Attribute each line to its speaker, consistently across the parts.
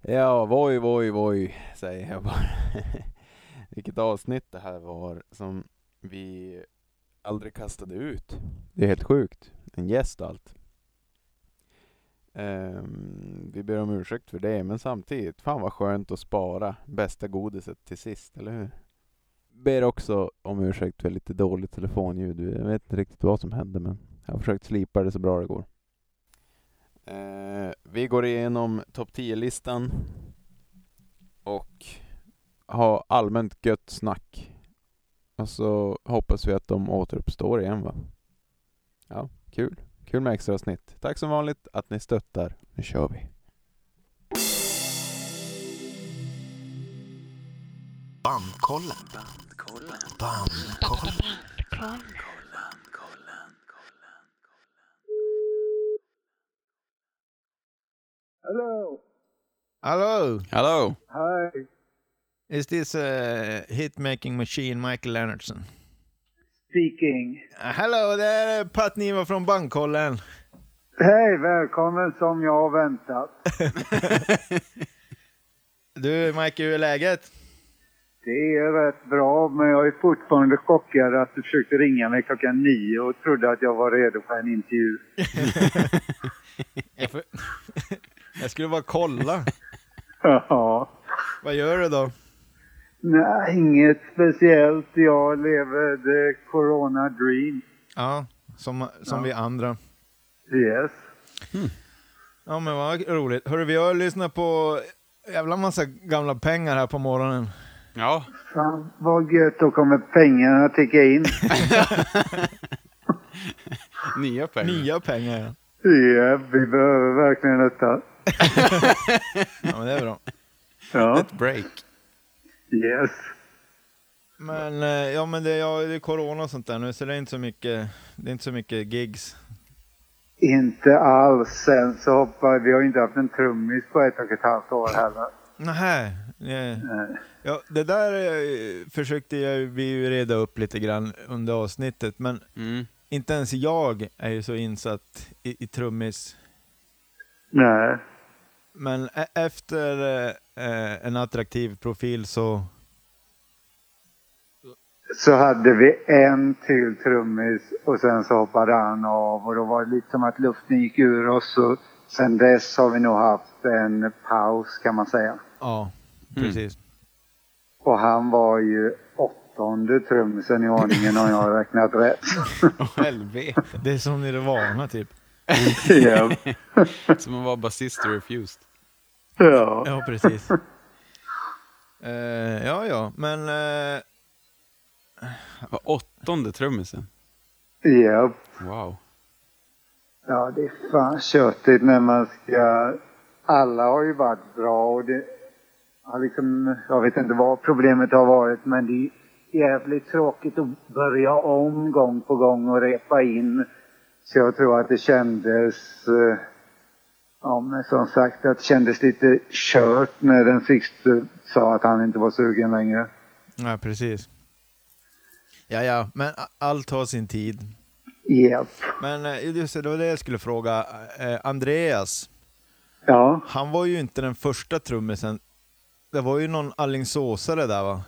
Speaker 1: Ja, voj, voj, voj, säger jag bara. Vilket avsnitt det här var som vi aldrig kastade ut. Det är helt sjukt. En gäst och allt. Ehm, vi ber om ursäkt för det, men samtidigt, fan vad skönt att spara bästa godiset till sist, eller hur? Ber också om ursäkt för lite dåligt telefonljud. Jag vet inte riktigt vad som hände, men jag har försökt slipa det så bra det går. Eh, vi går igenom topp 10-listan och har allmänt gött snack. Och så hoppas vi att de återuppstår igen va? Ja, kul. Kul med extra snitt. Tack som vanligt att ni stöttar. Nu kör vi.
Speaker 2: Bandkollen. Bandkollen.
Speaker 3: Hello.
Speaker 4: Hello,
Speaker 1: Hallå!
Speaker 3: Hi.
Speaker 4: is this uh, hit-making machine Michael Leonardson?
Speaker 3: Speaking.
Speaker 4: Hello, det här är Pat Niva från Bankkollen.
Speaker 3: Hej, välkommen som jag har väntat.
Speaker 4: Du, Mike, hur är läget?
Speaker 3: Det är rätt bra, men jag är fortfarande chockad att du försökte ringa mig klockan nio och trodde att jag var redo för en intervju.
Speaker 4: Jag, för... jag skulle bara kolla.
Speaker 3: Ja.
Speaker 4: Vad gör du då?
Speaker 3: Nej, inget speciellt. Jag lever the corona dream.
Speaker 4: Ja, som, som vi andra.
Speaker 3: Yes.
Speaker 4: Ja, men vad roligt. Hörru, vi har lyssnat på jävla massa gamla pengar här på morgonen.
Speaker 1: Ja.
Speaker 3: Fan, vad gött, då kommer pengarna ticka in.
Speaker 1: Nya pengar.
Speaker 4: Nya pengar, ja.
Speaker 3: Ja, vi behöver verkligen detta.
Speaker 4: ja men det är bra.
Speaker 3: Ja,
Speaker 1: Break.
Speaker 3: yes.
Speaker 4: Men, eh, ja, men det, ja, det är corona och sånt där nu, så det är inte så mycket, det är inte så mycket gigs.
Speaker 3: Inte alls. Sen så hoppar vi har ju inte haft en trummis på ett och ett halvt år heller.
Speaker 4: Nähä. eh,
Speaker 3: Nej.
Speaker 4: Ja, det där eh, försökte jag, ju- vi ju reda upp lite grann under avsnittet, men
Speaker 1: Mm.
Speaker 4: inte ens jag är ju så insatt i, i trummis.
Speaker 3: Nej.
Speaker 4: Men e- efter eh, eh, en attraktiv profil så...
Speaker 3: Så hade vi en till trummis och sen så hoppade han av och då var det lite som att luften gick ur oss och sen dess har vi nog haft en paus kan man säga.
Speaker 4: Ja, precis.
Speaker 3: Och han var ju åttonde trummisen i ordningen om jag har räknat rätt.
Speaker 1: Helvete.
Speaker 4: Det är som Nirvana typ.
Speaker 3: ja.
Speaker 1: Som att vara basist i refused.
Speaker 3: ja.
Speaker 4: Ja, precis. Eh, ja, ja, men... eh,
Speaker 1: Var åttonde trummisen.
Speaker 3: Ja.
Speaker 1: Wow.
Speaker 3: Ja, det är fan tjötigt när man ska... Alla har ju varit bra och det har liksom... Jag vet inte vad problemet har varit men det är jävligt tråkigt att börja om gång på gång och repa in. Så jag tror att det kändes... eh, Ja, men som sagt att det kändes lite kört när den sista sa att han inte var sugen längre.
Speaker 4: ja, precis. Ja, ja, men a- allt har sin tid.
Speaker 3: Japp.
Speaker 4: Men eh, just det, det var det jag skulle fråga. Eh, Andreas,
Speaker 3: Ja.
Speaker 4: han var ju inte den första trummisen. Det var ju någon allingsåsare där va?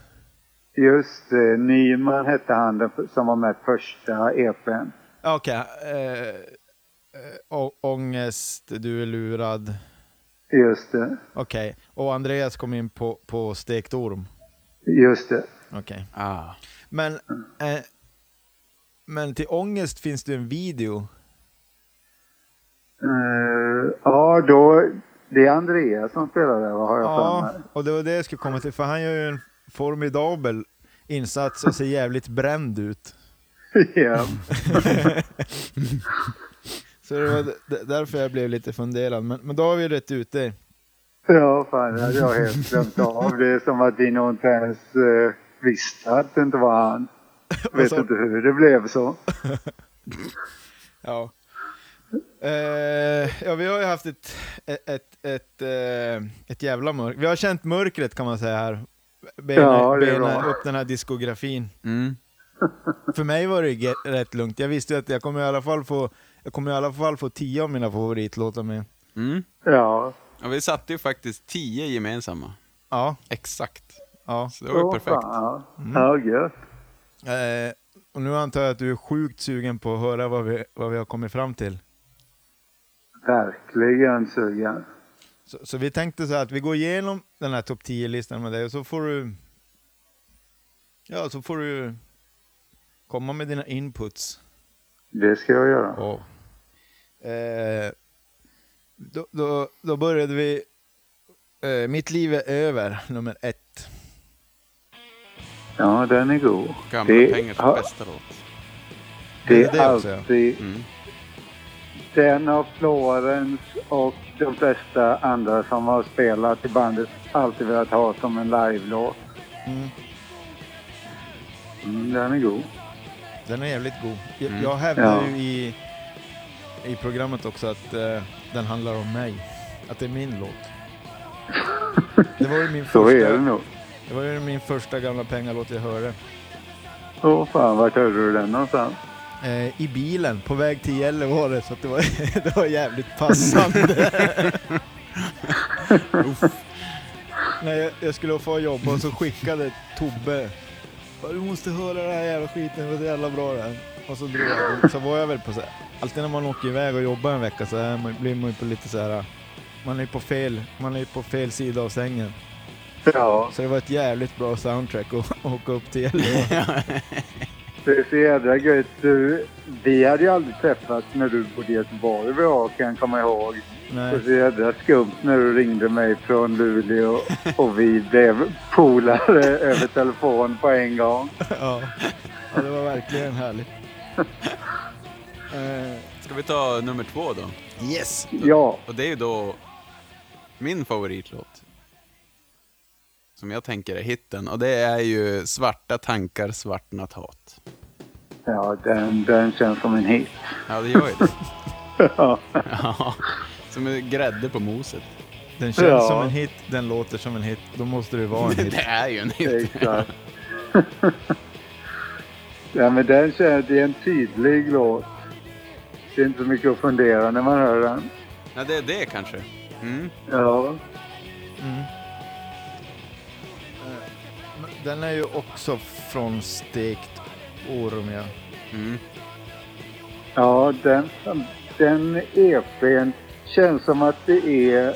Speaker 3: Just det. Nyman hette han den f- som var med första E EPn.
Speaker 4: Ja, Okej. Eh, eh, å- ångest, du är lurad.
Speaker 3: Just det.
Speaker 4: Okej. Och Andreas kom in på, på stekt orm.
Speaker 3: Just det.
Speaker 4: Okej.
Speaker 1: Ah.
Speaker 4: Men, eh, men till ångest finns det ju en video.
Speaker 3: Eh, ja, då... Det är Andreas som spelar där, vad har jag
Speaker 4: Ja,
Speaker 3: för mig?
Speaker 4: och det var det jag skulle komma till. För han gör ju en formidabel insats och ser jävligt bränd ut.
Speaker 3: ja.
Speaker 4: Så det var d- d- därför jag blev lite funderad. Men, men då har vi rätt ut det.
Speaker 3: ja, fan, det hade jag helt glömt av. Det är som att vi nog inte ens eh, visste att det inte var han. Vet
Speaker 5: Alltså.
Speaker 4: så-
Speaker 3: inte hur det blev så.
Speaker 4: Ja. Eh, ja, vi har ju haft ett, ett, ett, ett, eh, ett jävla mörker. Vi har känt mörkret kan man säga här. Bena,
Speaker 3: Ja, det är
Speaker 4: bena
Speaker 3: bra.
Speaker 4: upp den här diskografin.
Speaker 1: Mm.
Speaker 4: För mig var det ju ge- rätt lugnt. Jag visste ju att jag kommer i alla fall få, jag kommer i alla fall få tio av mina favoritlåtar med.
Speaker 1: Mm.
Speaker 3: Ja.
Speaker 5: Ja, vi satte ju faktiskt tio gemensamma.
Speaker 4: Ja,
Speaker 5: Exakt.
Speaker 4: ja.
Speaker 5: Så det var ju
Speaker 3: Åh,
Speaker 5: perfekt. Mm.
Speaker 3: fan, ja. ja, gött.
Speaker 4: Eh, och nu antar jag att du är sjukt sugen på att höra vad vi, vad vi har kommit fram till.
Speaker 3: Verkligen sugen.
Speaker 4: Så, så vi tänkte så här att vi går igenom den här topp 10-listan med dig och så får du... Ja, så får du komma med dina inputs.
Speaker 3: Det ska jag göra.
Speaker 4: Eh, då, då, då började vi... Eh, Mitt liv är över, nummer ett.
Speaker 3: Ja, den är god.
Speaker 5: Gamla
Speaker 3: Det-
Speaker 5: pengar för
Speaker 3: ja.
Speaker 5: bästa låt.
Speaker 3: Det
Speaker 4: Det är det
Speaker 3: är
Speaker 4: också, ja.
Speaker 3: alltid
Speaker 5: Mm.
Speaker 3: den av Florens och de flesta andra som har spelat i bandet alltid velat ha som en live-låt.
Speaker 4: Mm.
Speaker 3: Mm, den är god.
Speaker 4: Den är jävligt god. Jag,
Speaker 5: Mm.
Speaker 4: jag hävdar
Speaker 3: Ja.
Speaker 4: ju i, i programmet också att eh, den handlar om mig. Att det är min låt. Det var ju min
Speaker 3: Så är det
Speaker 4: första,
Speaker 3: nog.
Speaker 4: det var ju min första gamla pengalåt jag hörde.
Speaker 3: Åh fan, vart hörde du den någonstans?
Speaker 4: Eh, I bilen på väg till Gällivare så att det, var, det var jävligt passande. När jag, jag skulle få jobba och så skickade Tobbe "Bara, du måste höra den här jävla skiten, det är så jävla bra det här. Och så drog jag. Så var jag väl på så här. Alltid när man åker iväg och jobbar en vecka så är man, blir man ju på lite så här. Man är på fel, man är på fel sida av sängen.
Speaker 3: Ja,
Speaker 4: Så det var ett jävligt bra soundtrack att åka upp till Gällivare.
Speaker 3: det är så jädra gött. Du, vi hade ju aldrig träffats när du bodde i Göteborg vad jag kan komma ihåg. Det
Speaker 4: Nej.
Speaker 3: var så jädra skumt när du ringde mig från Luleå och vi blev polare över telefon på en gång.
Speaker 4: Ja. ja, det var verkligen härligt. Eh,
Speaker 5: Ska vi ta nummer två då?
Speaker 4: yes!
Speaker 3: Ja,
Speaker 5: Och det är ju då min favoritlåt. Som jag tänker är hitten. Och det är ju Svarta tankar, svartnat hat.
Speaker 3: ja den, den känns som en hit.
Speaker 5: Ja, det gör ju det.
Speaker 3: Ja.
Speaker 5: Ja, som en grädde på moset.
Speaker 4: Den känns
Speaker 3: Ja.
Speaker 4: som en hit, den låter som en hit. Då måste det vara en hit.
Speaker 5: Det är ju en hit.
Speaker 3: Exakt. ja, men den känns, det är en tydlig låt. Det är inte så mycket att fundera när man hör den.
Speaker 5: Ja, det är det kanske. Mm.
Speaker 3: Ja,
Speaker 4: Mm. Eh, men Den är ju också från Stekt Orm, ja.
Speaker 5: Mm.
Speaker 3: ja den, den EPn känns som att det är...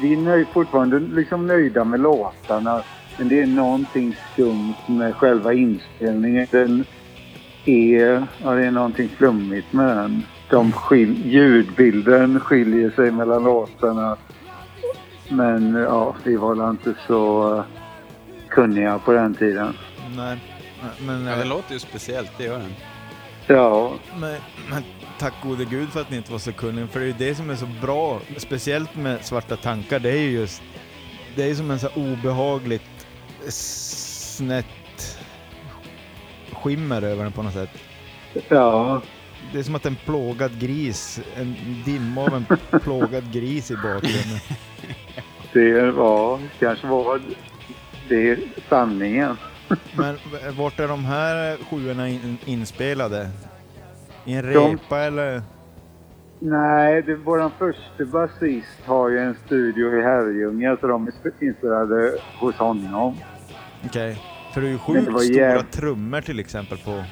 Speaker 3: Vi är nöj, fortfarande liksom nöjda med låtarna. Men det är någonting skumt med själva inspelningen. Den är... Ja, det är någonting flummigt med den. De skil, ljudbilden skiljer sig mellan låtarna. Men ja, vi var väl inte så eh, kunniga på den tiden.
Speaker 4: Nej. nej, Men,
Speaker 5: Ja,
Speaker 4: eh,
Speaker 5: den låter ju speciellt, det gör den.
Speaker 3: Ja,
Speaker 4: men, men tack gode gud för att ni inte var så kunniga, för det är ju det som är så bra, speciellt med Svarta tankar, det är ju just, det är ju som en så här obehagligt snett skimmer över den på något sätt.
Speaker 3: ja.
Speaker 4: Det är som att en plågad gris, en dimma av en plågad gris i bakgrunden.
Speaker 3: Det var, kanske var det sanningen.
Speaker 4: Men v- vart är de här sjuorna in, inspelade? I en
Speaker 3: De-
Speaker 4: repa eller?
Speaker 3: Nej, det, våran första basist har ju en studio i Herrljunga så de är sp- inspelade hos honom.
Speaker 4: Okej. För det är ju
Speaker 3: Men det var
Speaker 4: sjukt stora
Speaker 3: jäv-
Speaker 4: trummor till exempel på...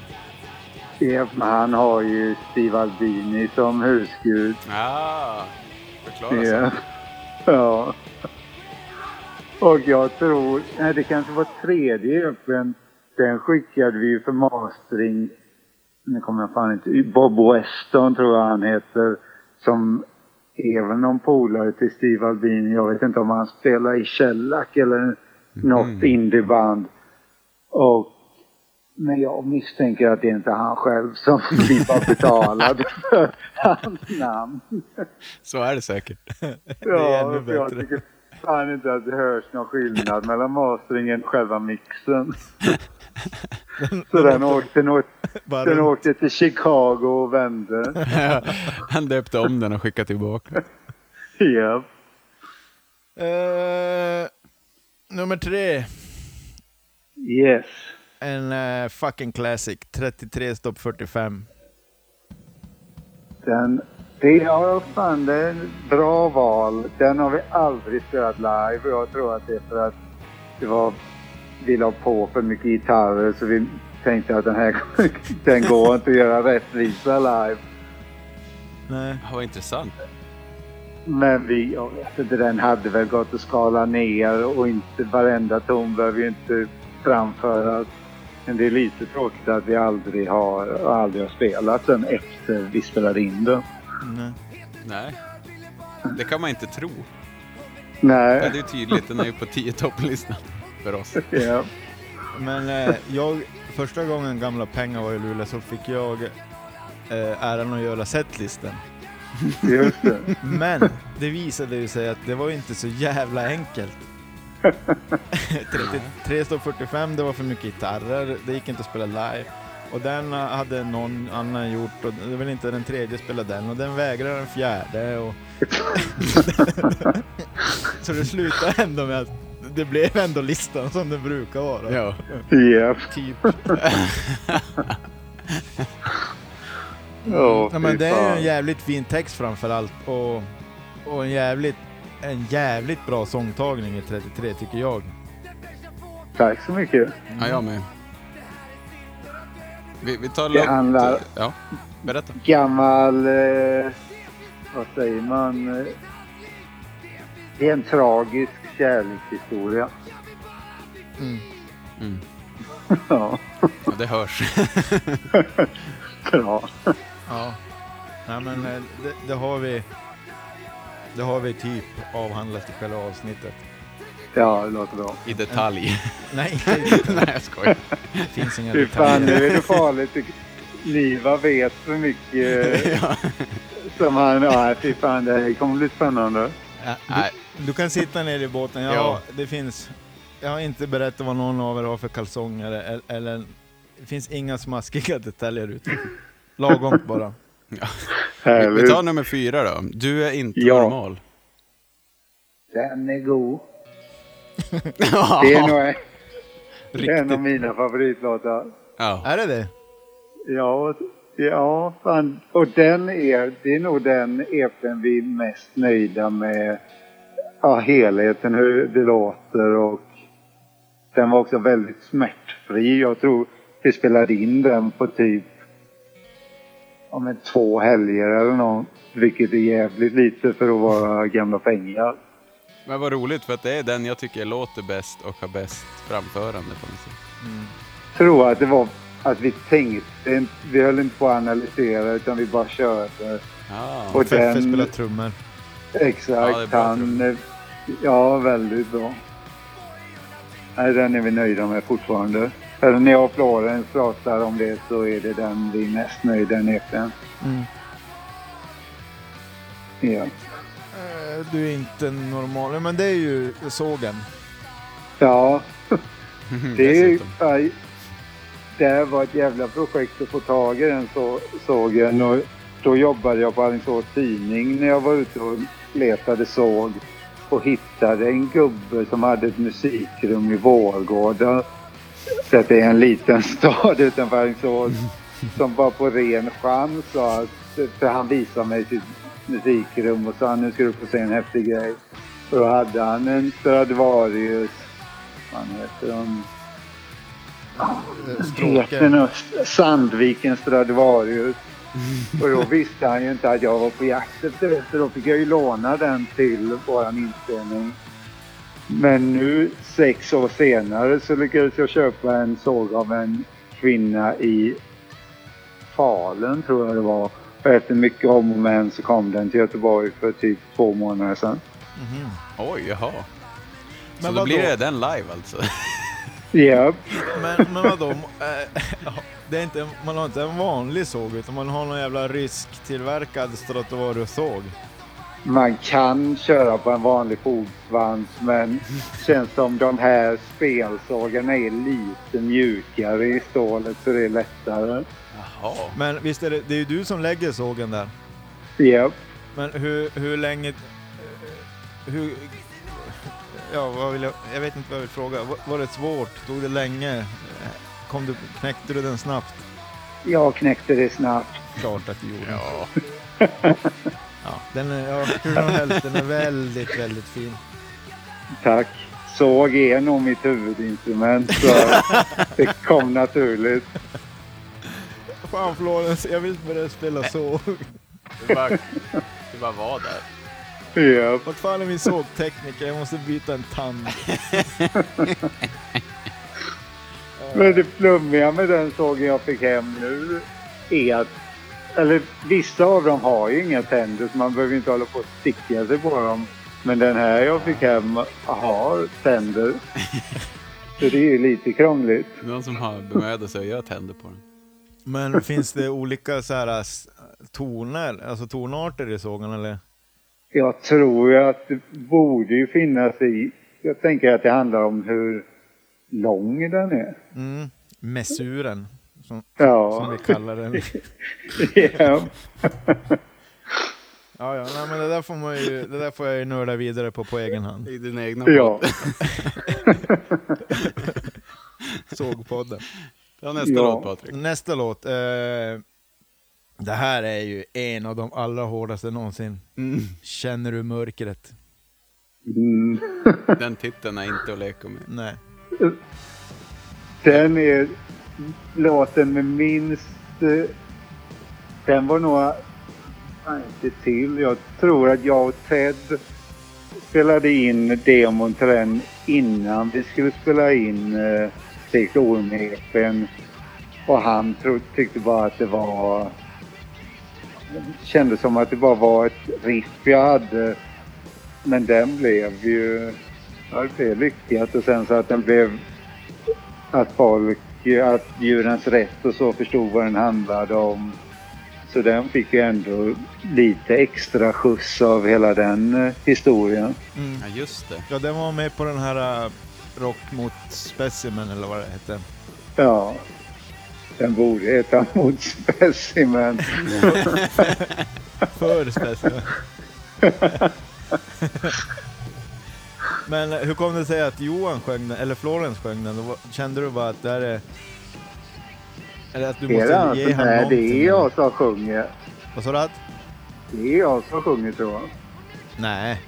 Speaker 3: Ja, men Han har ju Steve Albini som husgud.
Speaker 5: Ah, förklara sig.
Speaker 3: Ja. ja. Och jag tror, nej det kanske var tredje öppen. Den skickade vi ju för mastering. Nu kommer jag fan inte Bob Weston tror jag han heter. Som är väl någon polare till Steve Albini. Jag vet inte om han spelar i Shellac eller något indieband. Och men jag misstänker att det inte är han själv som vi var betalade för hans namn.
Speaker 5: Så är det säkert.
Speaker 4: är
Speaker 3: Ja,
Speaker 4: ännu
Speaker 3: för jag
Speaker 4: bättre.
Speaker 3: tycker fan inte att det hörs någon skillnad mellan masteringen och själva mixen. Så den åkte, nog-
Speaker 4: Bara
Speaker 3: den
Speaker 4: runt.
Speaker 3: åkte till Chicago och vände.
Speaker 5: Han döpte om den och skickade tillbaka.
Speaker 3: Japp.
Speaker 4: Eh, nummer tre.
Speaker 3: Yes.
Speaker 4: En eh, fucking classic. 33 stopp 45.
Speaker 3: Den Det ja, fan, det är en bra val. Den har vi aldrig spelat live och jag tror att det är för att det var, vi la på för mycket gitarrer så vi tänkte att den här den går inte att göra rättvisa live.
Speaker 4: Nej.
Speaker 1: Ja, Vad intressant.
Speaker 3: Men vi, jag vet inte, den hade väl gått att skala ner och inte varenda ton behöver ju inte framföras. Men det är lite tråkigt att vi aldrig har, aldrig har spelat den efter vi spelade in den.
Speaker 4: Nej.
Speaker 1: Nej. Det kan man inte tro. Ja,
Speaker 3: Nej.
Speaker 1: det är tydligt, den är ju på 10 topplistan för oss.
Speaker 3: Ja.
Speaker 4: Men eh, jag, första gången Gamla Pengar var i Luleå så fick jag eh, äran att göra setlisten.
Speaker 3: Just det.
Speaker 4: Men det visade ju sig att det var ju inte så jävla enkelt. 33 står 45, det var för mycket gitarrer, det gick inte att spela live. Och den eh, hade någon annan gjort och det var inte den tredje spelade den och den vägrade den fjärde. Och... så det slutade ändå med att det blev ändå listan som den brukar vara.
Speaker 1: Ja.
Speaker 3: Japp.
Speaker 4: Typ.
Speaker 3: Åh,
Speaker 4: Nej, Mm. men
Speaker 3: fy
Speaker 4: det är ju
Speaker 3: fan.
Speaker 4: en jävligt fin text framför allt och, och en, jävligt, en jävligt bra sångtagning i 33 tycker jag.
Speaker 3: Tack så mycket.
Speaker 1: Ja, jag med. Vi, vi tar
Speaker 3: Det
Speaker 1: lugnt.
Speaker 3: handlar-
Speaker 1: Ja, berätta.
Speaker 3: Gammal... Eh, vad säger man? Eh, Det är en tragisk kärlekshistoria.
Speaker 1: Mm.
Speaker 3: ja,
Speaker 1: Ja, det hörs.
Speaker 3: bra.
Speaker 4: Ja. Nej,
Speaker 3: Mm.
Speaker 4: men eh, det, det har vi. Det har vi typ avhandlat i själva avsnittet.
Speaker 3: Ja, det låter bra.
Speaker 1: I detalj.
Speaker 4: Nej, det
Speaker 1: Nej, jag skojar.
Speaker 4: finns inga
Speaker 3: Fy fan, nu
Speaker 4: detaljer.
Speaker 3: är det farligt. Liva vet för mycket eh,
Speaker 1: Ja.
Speaker 3: som han... Ja, fy fan, det här kommer bli spännande.
Speaker 4: Ja,
Speaker 1: Nej.
Speaker 4: du, du kan sitta ner i båten. Ja,
Speaker 1: Ja.
Speaker 4: det finns. Jag har inte berättat vad någon av er har för kalsonger eller, eller det finns inga smaskiga detaljer ute. Lagom bara.
Speaker 1: Vi
Speaker 3: Härligt.
Speaker 1: tar nummer fyra då. Du är inte
Speaker 3: Ja.
Speaker 1: normal.
Speaker 3: Den är god. Det är nog, det är nog
Speaker 1: Riktigt.
Speaker 3: mina favoritlåtar.
Speaker 1: Ja.
Speaker 4: Är det det?
Speaker 3: Ja, ja fan. och den är, det är nog den EPn vi är mest nöjda med. Ja, helheten, hur det låter och den var också väldigt smärtfri. Jag tror vi spelade in den på typ om en två helger eller något. Vilket är jävligt lite för att vara gamla pengar.
Speaker 1: Men vad roligt för att det är den jag tycker låter bäst och har bäst framförande på något sätt.
Speaker 3: tror att det var att vi tänkte, vi höll inte på att analysera utan vi bara körde.
Speaker 1: Ja.
Speaker 3: Och
Speaker 4: Feffe
Speaker 3: den-
Speaker 4: spelar trummor.
Speaker 3: Exakt.
Speaker 1: Ja, det är bra
Speaker 3: han, eh, ja, väldigt bra. Nej, den är vi nöjda med fortfarande. Eller när jag och Florens pratar om det så är det den vi är mest nöjda med. den.
Speaker 4: Mm.
Speaker 3: Ja.
Speaker 4: Eh, Du är inte normal. Ja, Men det är ju sågen.
Speaker 3: ja, det är ju...
Speaker 1: Mhm, Dessutom.
Speaker 3: aj, Det här var ett jävla projekt att få tag i den så, sågen. Och då jobbade jag på Alingsås tidning när jag var ute och letade såg och hittade en gubbe som hade ett musikrum i Vårgårda. Så att det är en liten stad utanför Alingsås som bara på ren chans sa att, för han visade mig sitt musikrum och sa nu ska du få se en häftig grej. Och då hade han en Stradivarius, vad fan heter de?
Speaker 4: Eh,
Speaker 3: heter
Speaker 4: Stråken.
Speaker 3: nog Sandviken Stradivarius. Och då visste han ju inte att jag var på jakt efter det, så då fick jag ju låna den till våran inspelning. Men nu, sex år senare, så lyckades jag köpa en såg av en kvinna i Falun, tror jag det var. Och efter mycket om och men så kom den till Göteborg för typ två månader sedan.
Speaker 4: Mhm.
Speaker 1: Oj, jaha. Så
Speaker 4: Men
Speaker 1: då blir
Speaker 4: vadå?
Speaker 1: det den live alltså?
Speaker 3: Japp.
Speaker 4: Men, men vadå? Eh, Det är inte, man har inte en vanlig såg utan man har någon jävla rysktillverkad Stratovarius-såg.
Speaker 3: Man kan köra på en vanlig fogsvans men känns som de här spelsågarna är lite mjukare i stålet så det är lättare.
Speaker 1: Jaha.
Speaker 4: Men visst är det, det är ju du som lägger sågen där.
Speaker 3: Japp.
Speaker 4: Men hur, hur länge... eh, Hur... Ja, vad vill jag... Jag vet inte vad jag vill fråga. Var, var det svårt? Tog det länge? Eh, Kom du, knäckte du den snabbt?
Speaker 3: Jag knäckte det snabbt.
Speaker 4: Klart att du gjorde.
Speaker 1: Ja.
Speaker 4: Den är, ja, hur som helst, den är väldigt, väldigt fin.
Speaker 3: Tack. Såg är nog mitt huvudinstrument så det kom naturligt.
Speaker 4: Fan Florens, jag vill inte börja spela så.
Speaker 6: Du bara, du bara var där.
Speaker 3: Japp.
Speaker 4: Vart fan är min sågtekniker? Jag måste byta en tand.
Speaker 3: Men det flummiga med den sågen jag fick hem nu är att eller vissa av dem har ju inga tänder så man behöver inte hålla på och sticka sig på dem. Men den här jag fick hem har tänder. Så det är ju lite krångligt.
Speaker 1: Någon som har bemödat sig att göra tänder på den.
Speaker 4: Men finns det olika så här, s- toner, alltså tonarter i sågen eller?
Speaker 3: Jag tror ju att det borde ju finnas i... Jag tänker att det handlar om hur lång den är.
Speaker 4: Mm. Messuren, som, som
Speaker 3: Ja.
Speaker 4: vi kallar den.
Speaker 3: ja.
Speaker 4: Ja, ja. Nej, men det, där får man ju, det där får jag ju nörda vidare på på egen hand.
Speaker 1: I din egna
Speaker 3: ja.
Speaker 1: podd.
Speaker 4: Sågpodden.
Speaker 1: Ja, nästa
Speaker 3: Ja.
Speaker 1: låt Patrik.
Speaker 4: Nästa låt. Eh, det här är ju en av de allra hårdaste någonsin.
Speaker 1: Mm.
Speaker 4: Känner du mörkret?
Speaker 3: Mm.
Speaker 1: Den titeln är inte att leka med.
Speaker 4: Nej.
Speaker 3: Den är låten med minst... eh, Den var nog... Nej, inte till. Jag tror att jag och Ted spelade in demon till den innan vi skulle spela in eh, Stek Ormepen. Och han tro, tyckte bara att det var... Kändes som att det bara var ett riff jag hade. Men den blev ju... Ja, det blev lyckat och sen så att den blev att folk, att djurens rätt och så förstod vad den handlade om. Så den fick ju ändå lite extra skjuts av hela den eh, historien.
Speaker 4: Mm.
Speaker 1: Ja, just det.
Speaker 4: Ja, den var med på den här eh, Rock mot Specimen eller vad det hette.
Speaker 3: Ja. Den borde heta Mot Specimen.
Speaker 4: För Specimen. Men hur kom det sig att Johan sjöng den, eller Florens sjöng den? Då var- Kände du bara att det här är... Eller att du
Speaker 3: Är det
Speaker 4: måste
Speaker 3: han
Speaker 4: ge
Speaker 3: som
Speaker 4: honom
Speaker 3: är? Det
Speaker 4: någonting?
Speaker 3: är jag som sjunger.
Speaker 4: Vad sa du? att?
Speaker 3: Det är jag som sjunger tror jag.
Speaker 4: Nej.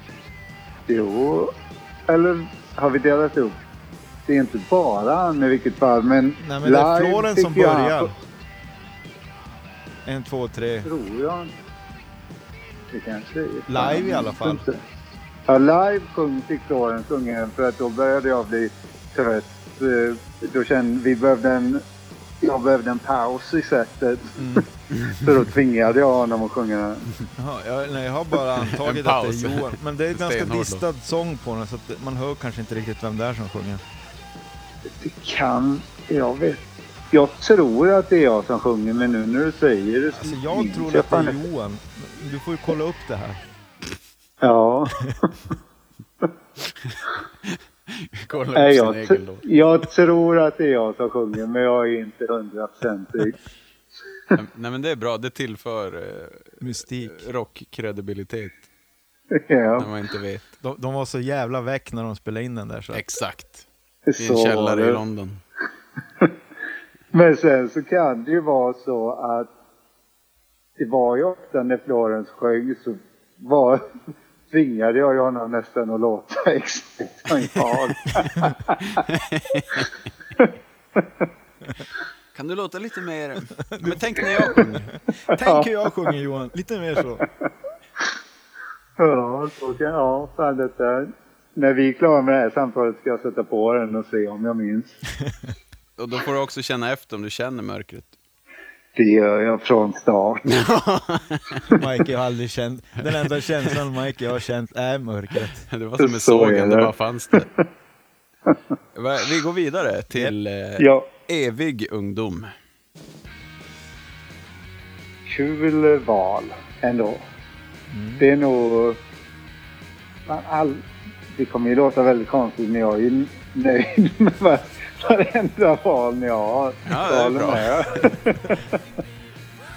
Speaker 3: Jo. Eller har vi delat upp? Det är inte bara han i vilket fall men...
Speaker 4: Nej, men det är
Speaker 3: live
Speaker 4: Florens som
Speaker 3: tycker jag-
Speaker 4: börjar. En, två, tre.
Speaker 3: tror jag inte. Det kanske är.
Speaker 4: Live i alla fall.
Speaker 3: Ja, live sjöng fick Florens sjunga för att då började jag bli trött. Eh, Då kände vi behövde en... Jag behövde en paus i sättet.
Speaker 4: Mm.
Speaker 3: så då tvingade jag honom att sjunga.
Speaker 4: Jaha, jag, nej, jag har bara antagit
Speaker 1: En
Speaker 4: att det
Speaker 1: paus.
Speaker 4: är Johan. Men det är en ganska
Speaker 1: Stenhård då.
Speaker 4: distad sång på den så att man hör kanske inte riktigt vem det är som sjunger.
Speaker 3: Det kan... Jag vet. Jag tror att det är jag som sjunger men nu när du säger det så
Speaker 4: Alltså jag
Speaker 3: minns
Speaker 4: tror att det
Speaker 3: fan
Speaker 4: är
Speaker 3: inte.
Speaker 4: Johan. Du får ju kolla upp det här.
Speaker 3: Ja.
Speaker 1: Kolla upp
Speaker 3: Nej,
Speaker 1: sin
Speaker 3: jag,
Speaker 1: egen låt.
Speaker 3: jag tror att det är jag som sjunger men jag är inte hundraprocentig.
Speaker 1: Nej, Nej men det är bra, det tillför eh,
Speaker 4: Mystik.
Speaker 1: rockkredibilitet
Speaker 3: Ja.
Speaker 1: när man inte vet.
Speaker 4: De, de var så jävla väck när de spelade in den där. Så. att-
Speaker 1: Exakt. I en
Speaker 3: Så var
Speaker 1: källare i
Speaker 3: det.
Speaker 1: London.
Speaker 3: Men sen så kan det ju vara så att det var ju ofta när Florens sjöng så var, tvingade jag ju honom nästan att låta exakt som jag.
Speaker 1: Kan du låta lite mer... Men tänk när jag sjunger.
Speaker 4: Tänk hur jag sjunger Johan. Lite mer så.
Speaker 3: Ja, så kan ja, fan detta. När vi är klara med det här samtalet ska jag sätta på den och se om jag minns.
Speaker 1: Och då får du också känna efter om du känner mörkret.
Speaker 3: Det gör jag från start.
Speaker 4: Mike har aldrig känt. Den enda känslan Mike jag har känt är mörkret.
Speaker 1: Det var som
Speaker 3: Så
Speaker 1: med
Speaker 3: är
Speaker 1: sågen, det
Speaker 3: det.
Speaker 1: bara fanns det. Va, Vi går vidare till eh,
Speaker 3: Ja,
Speaker 1: Evig ungdom.
Speaker 3: kul val ändå.
Speaker 1: Mm.
Speaker 3: Det är nog... Man all, det kommer ju låta väldigt konstigt men jag är ju nöjd med var- varenda val ni har.
Speaker 1: Ja, det är
Speaker 3: Valen
Speaker 1: bra.
Speaker 3: här.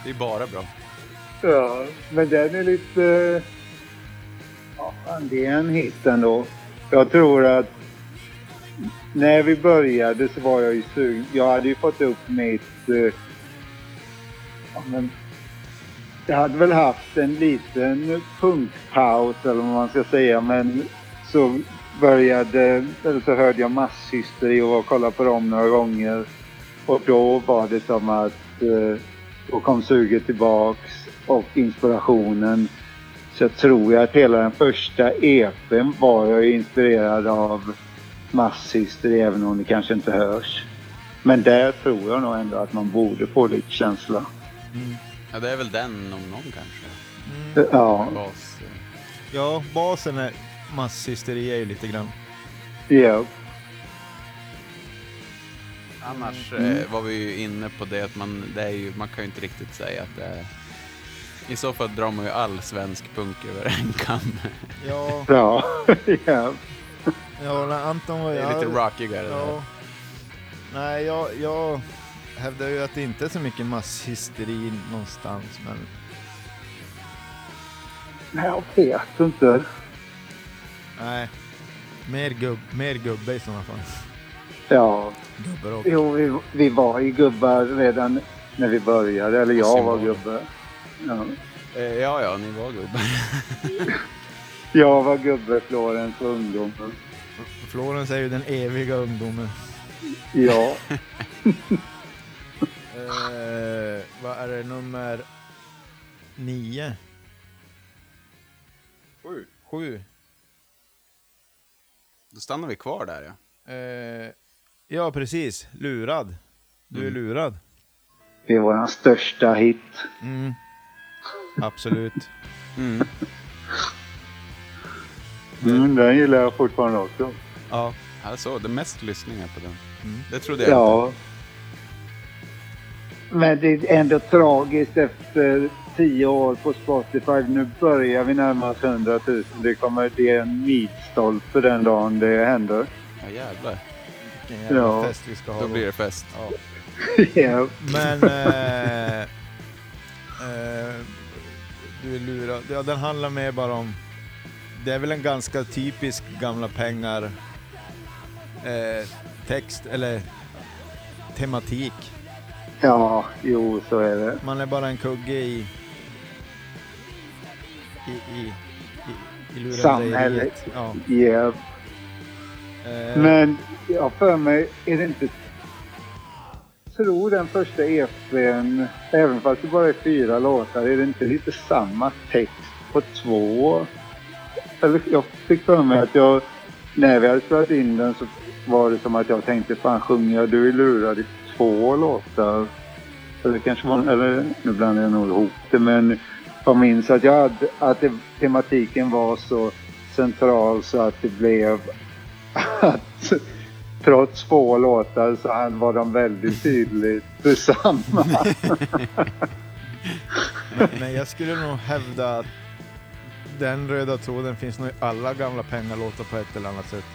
Speaker 1: Det är bara bra.
Speaker 3: ja, men den är lite... Ja, fan, det är en hit ändå. Jag tror att när vi började så var jag ju sugen. Jag hade ju fått upp mitt... Eh, ja, men Jag hade väl haft en liten punkpaus eller vad man ska säga men så började, eller så hörde jag masshysteri och var och kollade på dem några gånger. Och då var det som att eh, då kom suget tillbaks och inspirationen. Så jag tror jag att hela den första EPn var jag ju inspirerad av masshysteri även om det kanske inte hörs. Men där tror jag nog ändå att man borde få lite känsla.
Speaker 1: Ja, det är väl den om någon kanske.
Speaker 4: Mm.
Speaker 3: Ja,
Speaker 1: Bas. eh.
Speaker 4: Ja, basen är masshysteri är ju lite grann.
Speaker 3: ja.
Speaker 1: Annars eh, var vi ju inne på det att man, det är ju, man kan ju inte riktigt säga att det är... I så fall drar man ju all svensk punk över en kam.
Speaker 4: Ja,
Speaker 3: Ja, ja.
Speaker 4: ja när Anton var...
Speaker 1: Det är
Speaker 4: ja,
Speaker 1: lite rockigare.
Speaker 4: Ja. Nej, jag, jag hävdar ju att det inte är så mycket masshysteri någonstans, men
Speaker 3: Nej, jag vet inte.
Speaker 4: nej. Mer, gubb, mer gubbe i sådana fall.
Speaker 3: Ja,
Speaker 4: Gubbar och...
Speaker 3: jo, vi, vi var ju gubbar redan när vi började. Eller jag var
Speaker 1: Simon.
Speaker 3: gubbe. Ja.
Speaker 1: Eh, Ja, ja, ni var gubbar.
Speaker 3: Jag var gubbe, Florens var ungdom.
Speaker 4: Florens är ju den eviga ungdomen.
Speaker 3: Ja,
Speaker 4: Eh, vad är det, nummer nio? Sju. Sju.
Speaker 1: Då stannar vi kvar där ja.
Speaker 4: Eh, ja, precis. Lurad. Du är
Speaker 1: Mm.
Speaker 4: lurad.
Speaker 3: det är vår största hit.
Speaker 4: Mm. Absolut.
Speaker 1: Mm.
Speaker 3: Mm, den gillar jag fortfarande också.
Speaker 4: ja.
Speaker 1: Alltså, det mest lyssningar på den.
Speaker 4: Mm.
Speaker 1: Det trodde jag inte.
Speaker 3: Ja. Men det är ändå tragiskt efter tio år på Spotify. Nu börjar vi närma oss 100 000. Det kommer det är en milstolpe den dagen det händer.
Speaker 1: Ja, jävlar.
Speaker 4: Vilken jävla
Speaker 3: Ja.
Speaker 4: fest vi ska ha.
Speaker 1: Då
Speaker 4: då.
Speaker 1: blir det fest.
Speaker 4: Ja.
Speaker 3: Ja.
Speaker 4: Men... Eh, eh, du är lurad. Ja, den handlar mer bara om... Det är väl en ganska typisk gamla pengar eh, text eller tematik.
Speaker 3: Ja, jo, så är det.
Speaker 4: Man är bara en kugge i... I, i, i, i lurendrejeriet.
Speaker 3: Samhället.
Speaker 4: Ja.
Speaker 3: Ja.
Speaker 4: Eh,
Speaker 3: Men jag har för mig, är det inte... Jag tror den första EPn, även fast det bara är fyra låtar, är det inte lite samma text på två? Eller jag fick för mig att jag, när vi hade spelat in den så var det som att jag tänkte fan sjunger jag Du är lurad i två låtar? Eller kanske var eller nu blandar jag nog ihop det men jag minns att, jag hade, att det, tematiken var så central så att det blev att trots få låtar så här var de väldigt tydligt samma.
Speaker 4: Mm. Men jag skulle nog hävda att den röda tråden finns nog i alla gamla pengalåtar på ett eller annat sätt.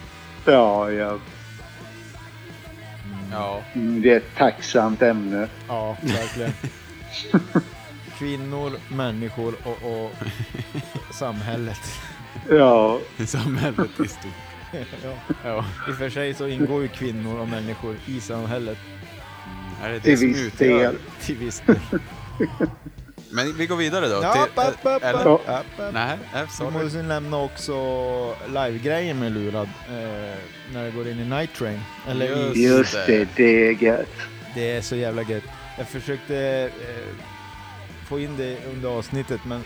Speaker 3: Ja, ja.
Speaker 1: Ja.
Speaker 3: Mm, Det är ett tacksamt ämne.
Speaker 4: Ja, verkligen. Kvinnor, människor och, och samhället.
Speaker 3: Ja,
Speaker 1: Samhället i stort. Mm,
Speaker 4: Ja.
Speaker 1: Ja.
Speaker 4: I och för sig så ingår ju kvinnor och människor i samhället
Speaker 1: Är det
Speaker 3: till
Speaker 1: det som
Speaker 3: viss
Speaker 1: utgör?
Speaker 3: del.
Speaker 4: till viss del.
Speaker 1: Men vi går vidare då. eh,
Speaker 4: Ja, app, app, app,
Speaker 1: eller?
Speaker 4: app, app, app.
Speaker 1: Nej, nej,
Speaker 4: Vi
Speaker 1: sorry.
Speaker 4: måste nämna också livegrejen med Lurad eh, när det går in i Night Train. Eller i
Speaker 1: Just
Speaker 3: Just det, det är gött.
Speaker 4: Det är så jävla gött. Jag försökte eh, få in det under avsnittet men eh,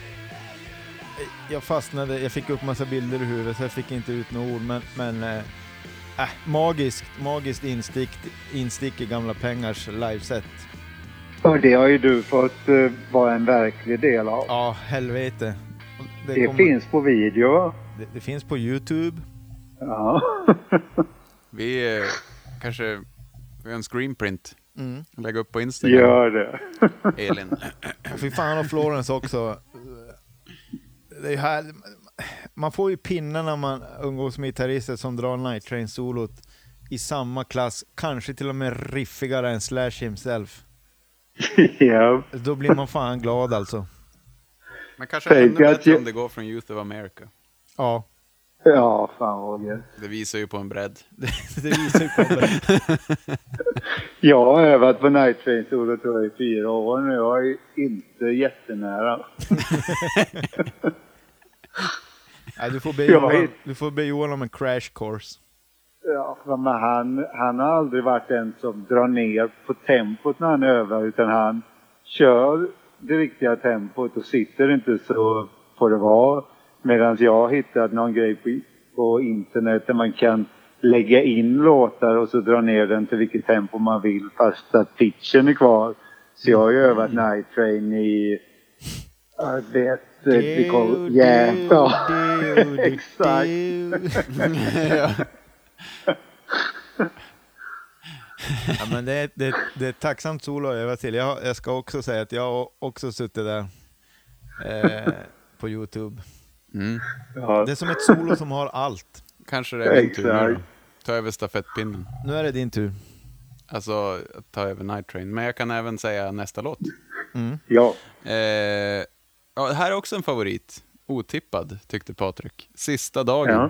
Speaker 4: jag fastnade, jag fick upp massa bilder i huvudet så jag fick inte ut några ord men, men eh, äh, magiskt, magiskt instick, instick i gamla pengars liveset.
Speaker 3: Och det har ju du fått eh, vara en verklig del av.
Speaker 4: Ja, helvete. Och
Speaker 3: det
Speaker 4: kommer-
Speaker 3: finns på video.
Speaker 4: det, det finns på Youtube.
Speaker 3: Ja.
Speaker 1: Vi eh, kanske... Vi har en screenprint.
Speaker 4: Mm.
Speaker 1: Lägga upp på Instagram.
Speaker 3: Gör det.
Speaker 1: Elin.
Speaker 4: Och fy fan och Florence också. Det är ju här, man får ju pinnar när man umgås med gitarrister som drar Night Train-solot i samma klass, kanske till och med riffigare än Slash himself.
Speaker 3: ja.
Speaker 4: Då blir man fan glad alltså.
Speaker 1: Men kanske
Speaker 3: Tänk
Speaker 1: ännu
Speaker 3: att
Speaker 1: bättre
Speaker 3: jag-
Speaker 1: om det går från Youth of America.
Speaker 4: Ja.
Speaker 3: Ja, fan vad gött.
Speaker 1: Det visar ju på en bredd.
Speaker 4: Det visar ju på det.
Speaker 3: Jag har övat på Night Train solo tror jag i fyra år nu. Jag är inte jättenära.
Speaker 4: Nej, du, får be
Speaker 3: Jag
Speaker 4: Johan,
Speaker 3: vet.
Speaker 4: du får be Johan om en crash course.
Speaker 3: Ja, fan, men han, han har aldrig varit den som drar ner på tempot när han övar utan han kör det riktiga tempot och sitter inte så får det vara. Medan jag har hittat någon grej på, på internet där man kan lägga in låtar och så dra ner den till vilket tempo man vill fast att pitchen är kvar. Så jag har ju övat
Speaker 4: Mm.
Speaker 3: Night Train i... Jag vet det
Speaker 4: Du,
Speaker 3: kom,
Speaker 4: du,
Speaker 3: yeah, Oh, ja,
Speaker 4: du, du,
Speaker 3: exakt.
Speaker 4: du.
Speaker 1: ja.
Speaker 4: Ja, men det, är- det, det är ett tacksamt solo att öva till. Jag, jag ska också säga att jag har också suttit där eh, på Youtube.
Speaker 1: Mm.
Speaker 3: Ja,
Speaker 4: Det är som ett solo som har allt.
Speaker 1: Kanske det är min tur nu då.
Speaker 3: Exakt.
Speaker 1: Ta över stafettpinnen.
Speaker 4: Nu är det din tur.
Speaker 1: Alltså, ta över Night Train. Men jag kan även säga nästa låt.
Speaker 3: ja.
Speaker 1: Eh, ja, det här är också en favorit. Otippad, tyckte Patrik. Sista dagen.
Speaker 3: Ja.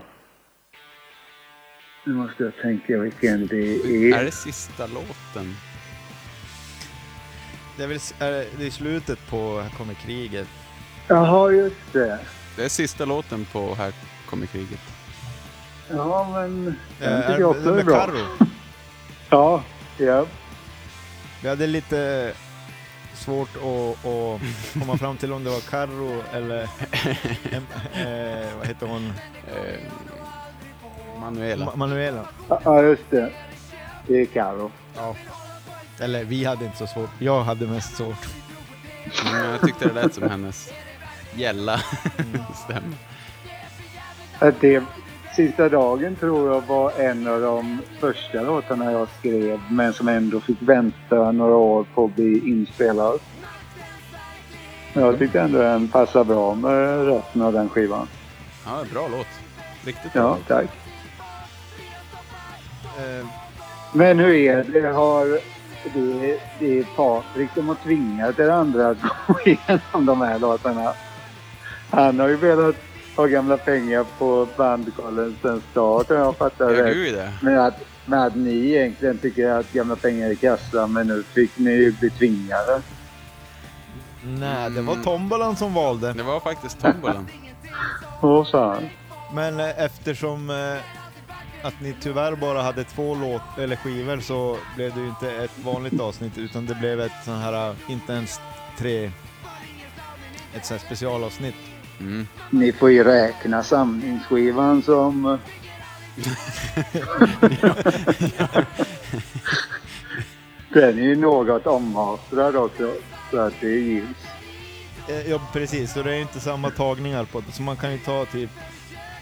Speaker 3: Nu måste jag tänka vilken det
Speaker 1: Är
Speaker 3: är.
Speaker 1: det sista låten?
Speaker 4: Det är, väl, s- är det- det är slutet på Här kommer kriget.
Speaker 3: Jaha, just det.
Speaker 1: Det är sista låten på Här kommer kriget.
Speaker 3: Ja, men
Speaker 4: Eh,
Speaker 3: den
Speaker 4: är
Speaker 3: tycker
Speaker 4: det
Speaker 3: jag också är
Speaker 4: med
Speaker 3: bra.
Speaker 4: Karo?
Speaker 3: Ja, ja.
Speaker 4: Vi hade lite svårt att, att komma fram till om det var Carro eller em, eh, vad heter hon?
Speaker 1: Eh, Manuela.
Speaker 4: Ma- Manuela.
Speaker 3: ja, just det. Det är Karo.
Speaker 4: Ja. Eller vi hade inte så svårt. Jag hade mest svårt.
Speaker 1: Men Mm, jag tyckte det lät som hennes gälla stämma.
Speaker 3: Att det, sista dagen tror jag var en av de första låtarna jag skrev men som ändå fick vänta några år på att bli inspelad. Men jag tyckte ändå den passade bra med resten av den skivan.
Speaker 1: Ja, bra låt. Riktigt bra
Speaker 3: Ja,
Speaker 1: låt.
Speaker 3: tack.
Speaker 4: Eh,
Speaker 3: Men hur är det? Har det, det är Patrik som har tvingat er andra att gå igenom de här låtarna. Han har ju velat ha gamla pengar på bandkollen sen start om jag fattar
Speaker 1: Ja,
Speaker 3: rätt.
Speaker 1: gud ja.
Speaker 3: Men att, men att ni egentligen tycker att gamla pengar är kassa men nu fick ni ju bli tvingade.
Speaker 4: nej, det var tombolan som valde.
Speaker 1: Det var faktiskt tombolan.
Speaker 3: Åh fan.
Speaker 4: Men eh, eftersom eh, att ni tyvärr bara hade två låt eller skivor så blev det ju inte ett vanligt avsnitt utan det blev ett sån här, eh, inte ens tre, ett sånt här specialavsnitt.
Speaker 1: Mm.
Speaker 3: Ni får ju räkna samlingsskivan som... eh, Den är ju något omhastrad också, så att det gills.
Speaker 4: Eh, ja precis, så det är inte samma tagningar på det. Så man kan ju ta typ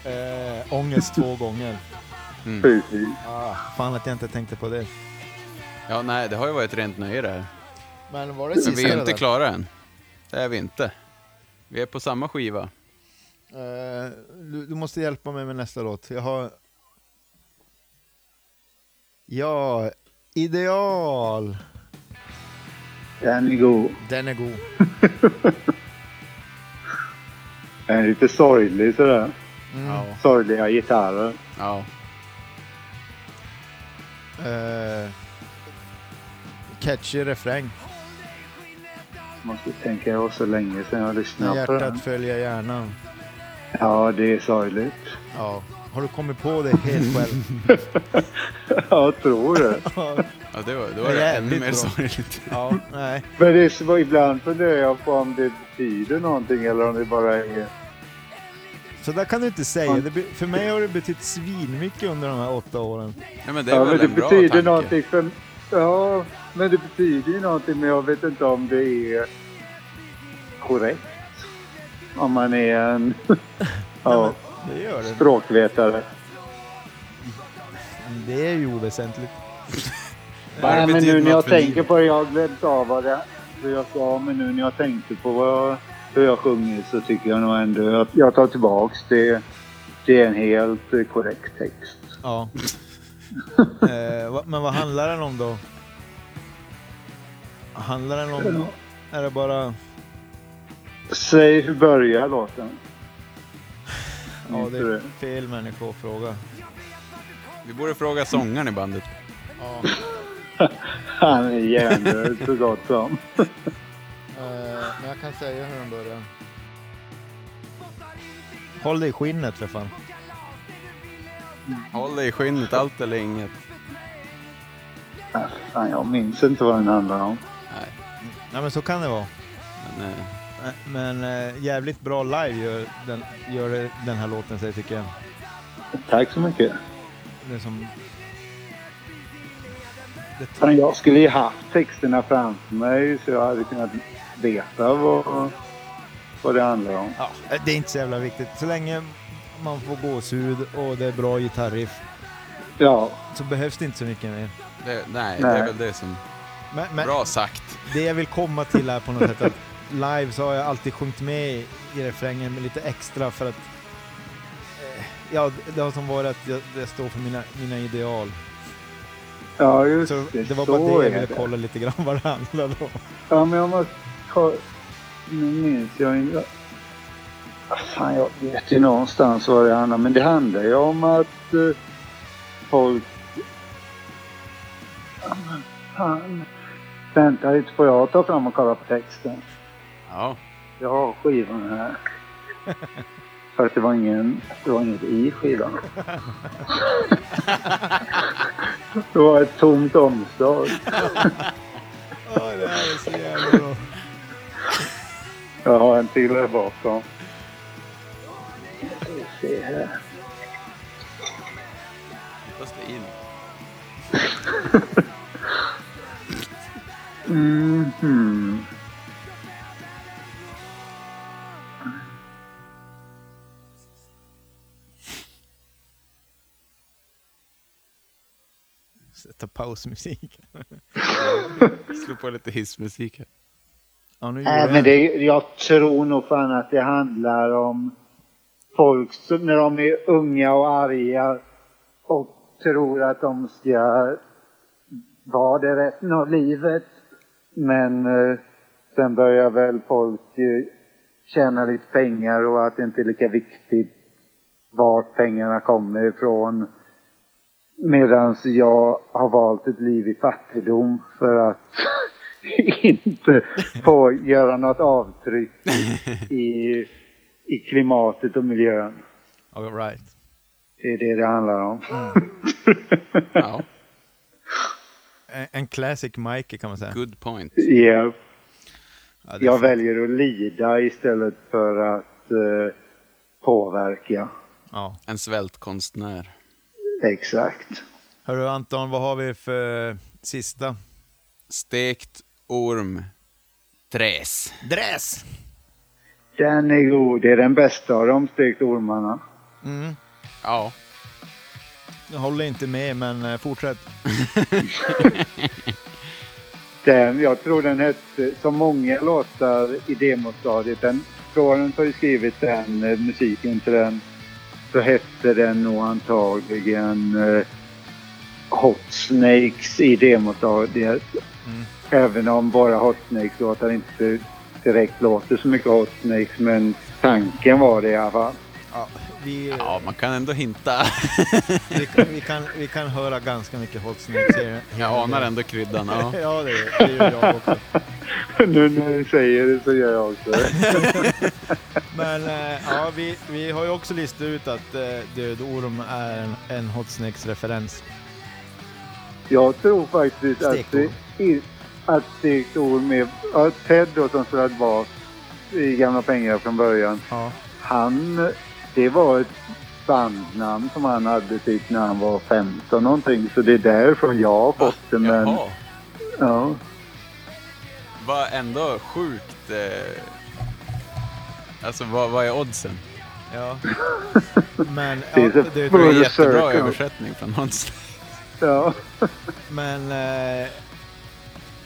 Speaker 4: eh, ångest två gånger.
Speaker 3: Precis.
Speaker 4: Ah, fan att jag inte tänkte på det.
Speaker 1: Ja, nej, det har ju varit ett rent nöje det här.
Speaker 4: Men var det
Speaker 1: Men
Speaker 4: sista
Speaker 1: vi är ju
Speaker 4: det
Speaker 1: inte
Speaker 4: där?
Speaker 1: klara än. Det är vi inte. Vi är på samma skiva.
Speaker 4: Eh, du, du måste hjälpa mig med nästa låt. Jag har... Ja, Ideal.
Speaker 3: Den är god.
Speaker 4: Den är god.
Speaker 3: Den är lite sorglig sådär.
Speaker 4: Mm.
Speaker 3: Sorgliga gitarrer.
Speaker 1: Ja.
Speaker 4: Eh, catchy refräng.
Speaker 3: Måste tänka, det var så länge sedan jag
Speaker 4: När
Speaker 3: lyssnade på den.
Speaker 4: hjärtat följer hjärnan.
Speaker 3: Ja, det är sorgligt.
Speaker 4: Ja. Har du kommit på det helt själv?
Speaker 3: jag tror det.
Speaker 1: ja det var, då
Speaker 4: Det
Speaker 1: var
Speaker 4: är
Speaker 1: det
Speaker 4: jävligt
Speaker 1: ännu mer
Speaker 4: bra.
Speaker 1: sorgligt.
Speaker 4: ja, nej.
Speaker 3: Men det är så, ibland funderar jag på om det betyder någonting eller om det bara är...
Speaker 4: Så där kan du inte säga. Det, be- för mig har det betytt svinmycket under de här åtta åren.
Speaker 1: Nej, men det är
Speaker 3: Ja, men
Speaker 1: väl
Speaker 3: det
Speaker 1: en bra
Speaker 3: betyder
Speaker 1: tanke.
Speaker 3: någonting för... Ja, men det betyder ju någonting, men jag vet inte om det är korrekt. Om man är en ja,
Speaker 4: Det gör det.
Speaker 3: språkvetare.
Speaker 4: Det är ju oväsentligt.
Speaker 1: Bara
Speaker 3: Nej, men
Speaker 1: betyder
Speaker 3: nu när
Speaker 1: något
Speaker 3: jag
Speaker 1: för
Speaker 3: tänker
Speaker 1: livet.
Speaker 3: på det, jag har glömt av vad det vad jag sa, men nu när jag tänkte på vad jag, hur jag sjunger så tycker jag nog ändå att jag tar tillbaks det. Det är en helt eh, korrekt text.
Speaker 4: Ja. eh, va- men vad handlar den om då? Handlar den om... Är det bara...
Speaker 3: Säg hur börjar låten?
Speaker 4: Ja, det
Speaker 3: Mm.
Speaker 4: är fel människor att fråga.
Speaker 1: Vi borde fråga sångaren i bandet.
Speaker 3: Han är hjärndöd så gott som.
Speaker 7: Eh, men jag kan säga hur den börjar.
Speaker 4: Håll dig i skinnet för fan.
Speaker 1: Håll dig i skinnet, allt eller inget.
Speaker 3: Ah, Fan, jag minns inte vad den handlar om.
Speaker 4: Nej men så kan det vara.
Speaker 1: Men, eh,
Speaker 4: Men eh, jävligt bra live gör den, gör det- den här låten sig tycker jag.
Speaker 3: Tack så mycket.
Speaker 4: Det är som... Det,
Speaker 3: Fan, jag skulle ju haft texterna framför mig så jag hade kunnat veta vad, vad det handlar om.
Speaker 4: ja, det är inte så jävla viktigt. Så länge man får gåshud och det är bra gitarriff
Speaker 3: Ja,
Speaker 4: så behövs det inte så mycket mer.
Speaker 1: det, nej, det
Speaker 3: Nej.
Speaker 1: är väl det som...
Speaker 4: Men, men
Speaker 1: Bra sagt.
Speaker 4: det jag vill komma till här på något sätt att live så har jag alltid sjungit med i refrängen med lite extra för att eh, ja, det har som varit att jag, jag står för mina, mina ideal.
Speaker 3: ja just
Speaker 4: Så
Speaker 3: det.
Speaker 4: det var
Speaker 3: så
Speaker 4: bara det jag
Speaker 3: är
Speaker 4: ville kolla lite grann vad det handlade om.
Speaker 3: Ja, men jag måste ta... Nu minns jag inte. Ah, Fan, jag vet ju någonstans vad det handlar om. Men det handlar ju om att eh, folk... Ja, men fan. Vänta lite, får jag ta fram och kolla på texten?
Speaker 1: Ja.
Speaker 3: Jag har skivan här. För att det var, ingen, det var inget i skivan. det var ett tomt omslag.
Speaker 4: Ja, det här är så jävla bra.
Speaker 3: Jag har en till här bakom. Ska vi se här.
Speaker 1: Fast det är in.
Speaker 3: Mhm.
Speaker 4: Sätta pausmusik.
Speaker 1: Slå på lite hissmusik här.
Speaker 4: Ja, nu
Speaker 3: Nej, Äh, men det, jag tror nog fan att det handlar om folk som, när de är unga och arga och tror att de ska vara det resten av livet. Men eh, sen börjar väl folk eh, tjäna lite pengar och att det inte är lika viktigt vart pengarna kommer ifrån. Medan jag har valt ett liv i fattigdom för att inte få göra något avtryck i, i klimatet och miljön.
Speaker 4: All right.
Speaker 3: Det är det det handlar om.
Speaker 4: Mm.
Speaker 1: Ja,
Speaker 4: En, en classic Mikey kan man säga.
Speaker 1: good point.
Speaker 3: Ja,
Speaker 4: Ja, det är
Speaker 3: jag
Speaker 4: fint.
Speaker 3: väljer att lida istället för att eh, påverka.
Speaker 4: Ja.
Speaker 1: En svältkonstnär.
Speaker 3: Exakt.
Speaker 4: Hörru Anton, vad har vi för eh, sista?
Speaker 1: Stekt orm. Träs.
Speaker 4: Dress!
Speaker 3: Den är god. Det är den bästa av de stekt ormarna.
Speaker 4: Mm.
Speaker 1: Ja.
Speaker 4: Jag håller inte med, men eh, fortsätt.
Speaker 3: Den, eh, jag tror den hette, som många låtar i demostadiet, den, Florence har ju skrivit den eh, musiken till den, så hette den nog antagligen eh, Hot Snakes i demostadiet.
Speaker 4: Mm.
Speaker 3: Även om bara Hot Snakes-låtar inte direkt låter så mycket Hot Snakes, men tanken var det i alla fall.
Speaker 4: Ja, vi, eh,
Speaker 1: Ja, man kan ändå hinta.
Speaker 4: vi, kan- vi, kan, vi kan höra ganska mycket Hot Snakes. här.
Speaker 1: Jag anar ändå kryddan. Ja.
Speaker 4: Ja, det, det gör jag också.
Speaker 3: nu när du säger det så gör jag också det.
Speaker 4: Men eh, ja, vi, vi har ju också listat ut att eh, Död Orm är en, en Hot Snakes-referens.
Speaker 3: Jag tror faktiskt att,
Speaker 4: Stekt
Speaker 3: det- i- att stekt orm är... Ja, Ted då som spelade bas i Gamla pengar från början.
Speaker 4: Ja.
Speaker 3: Han... Det var ett bandnamn som han hade typ när han var 15 någonting. Så det är därifrån jag har fått det. Men,
Speaker 1: Jaha.
Speaker 3: ja.
Speaker 1: Vad ändå sjukt. Eh... Alltså, vad, vad är oddsen?
Speaker 4: Ja. Men,
Speaker 3: Det är
Speaker 4: ja,
Speaker 3: så
Speaker 4: det,
Speaker 1: Det är en
Speaker 3: Full
Speaker 1: jättebra
Speaker 3: circle.
Speaker 1: översättning från Hans.
Speaker 3: ja.
Speaker 4: men, eh,